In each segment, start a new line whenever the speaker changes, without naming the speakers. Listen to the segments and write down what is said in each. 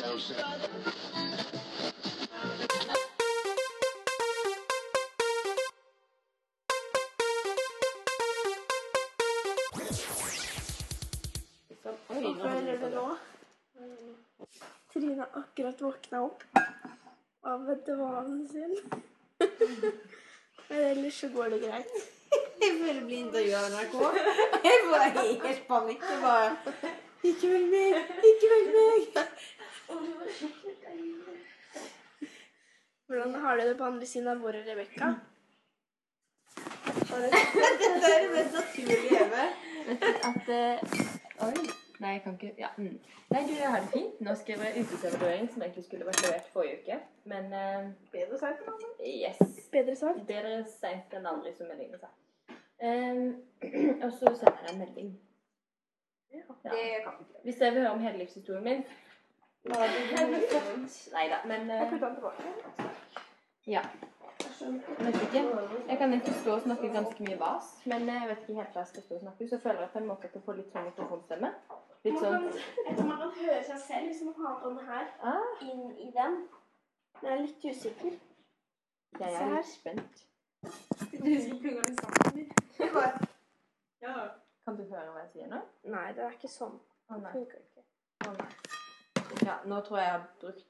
no sense.
Sånn. Oi, nå
Hva
hadde vi
føler du
på det.
nå? Trine har akkurat våkna opp av dvalen sin. Men ellers så går det greit.
Jeg ville bli intervjua av NRK. Jeg var i helt panikk. Jeg bare Ikke velg meg! Ikke velg meg!
Hvordan har du det på andre siden av bordet, Rebekka?
Dette er det mest naturlige hjemme.
At eh, Oi. Nei, jeg kan ikke ja. mm. Nei, du, jeg har det fint. Nå skal jeg være uteservering, som egentlig skulle vært levert forrige uke. Men eh,
Bedre sagt.
yes.
Bedre sagt.
Bedre seint enn aldri, som Eline sa. Ehm, og så sender jeg en melding.
Det kan vi ikke.
Hvis jeg vil høre om hele livshistorien min
Bare du blir fått.
Nei da, men
Jeg
eh,
putter den tilbake.
Ja.
Jeg skjønner
Vet ikke. Jeg kan egentlig stå og snakke ganske mye vas, men eh, jeg vet ikke helt hva jeg skal stå og snakke. Så jeg føler at jeg må ikke få litt sånn mikrofonstemme. Litt sånn
jeg tror man kan høre seg selv hvis man har den her
ah,
inn i den. Men jeg er litt usikker.
Jeg er litt spent.
ikke. Ja.
Kan du høre hva jeg sier nå?
Nei, det er ikke sånn.
Å nei.
Funker ikke.
Å nei. Ja, nå tror jeg jeg har brukt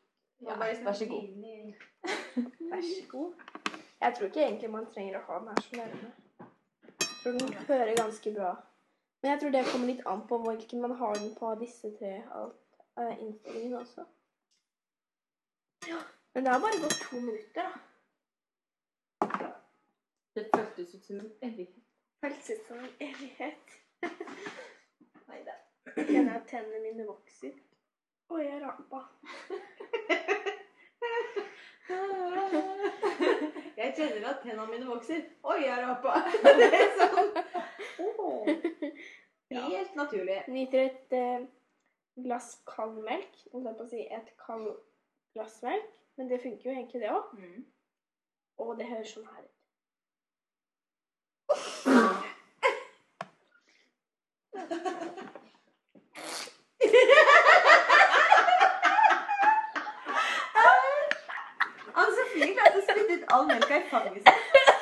ja, Vær så god.
Vær så god. Jeg tror ikke egentlig man trenger å ha den her så nærme. Jeg tror den hører ganske bra. Men jeg tror det kommer litt an på hvilken man har den på av disse tre alt, eh, innstillingene også. Men det har bare gått to minutter, da.
Det føltes ut som en evighet.
Føles ut som en evighet.
Neida.
Jeg Kjenner at tennene mine vokser. Oi, jeg rampa.
Jeg kjenner at tennene mine vokser. Oi, jeg er oppe! Det er sånn. Åh. Helt naturlig.
nyter et eh, glass kald melk. Jeg holdt på å si et kald glass melk, men det funker jo egentlig det òg. Og det høres sånn her ut.
Ann-Sofie klarte å spytte ut all melka i fanget sitt.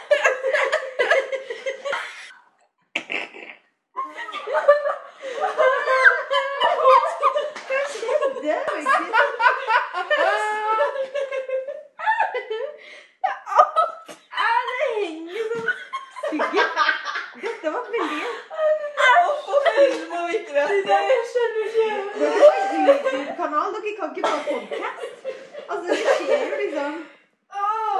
Hva skjedde? Hvilken- Nei, det henger som sugger. Dette
Ah,
var veldig gøy. Dere har YouTube-kanal, dere kan ikke bare podcast. Altså, det skjer jo liksom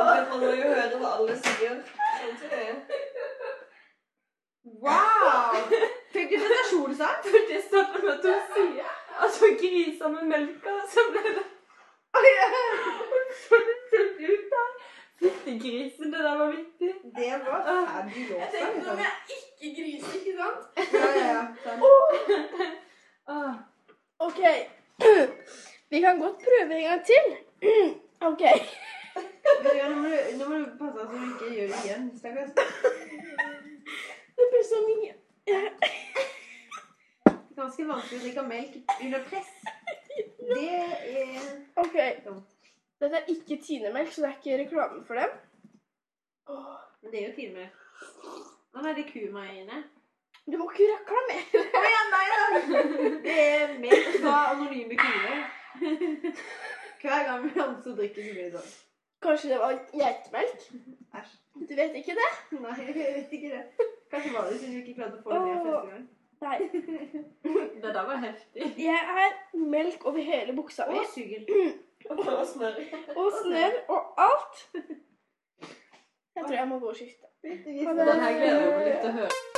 Man må jo høre hva alle sier. Sånn som det er.
Wow! Fikk du presentasjonssang?
For det startet med at hun sier at hun grisa med melka, så ble det Så det fullt ut der. Fyttegrisen, det der var vittig.
Det var fabulous. liksom.
jeg ikke griser, ikke sant?
Ja, ja, ja. Sånn.
Ah,
OK. Vi kan godt prøve en gang til. OK.
Men ja, Nå må du- nå må du passe deg så du ikke gjør det igjen. Stakkars.
Det blir så mye.
Ganske vanskelig å drikke melk under press. Det er
OK. Dette er ikke Tine-melk, så det er ikke reklame for dem. Åh,
Men det er jo timer. Å nei, det er kumeiene.
Du må ikke reklamere.
Det er melk fra anonyme kuer. Hver gang vi anser drikker så mye sånn.
Kanskje det var geitemelk?
Æsj.
Du vet ikke det?
Nei, jeg vet ikke det. Kanskje var det siden du ikke klarte å få det ned første gang.
Nei.
det der var heftig.
Jeg er melk over hele buksa mi.
Å, suger.
Og smør.
Og snørr og alt. Jeg tror jeg må gå og skifte.
Litt- litt-
Ha det.
Den her gleder jeg meg litt til å høre.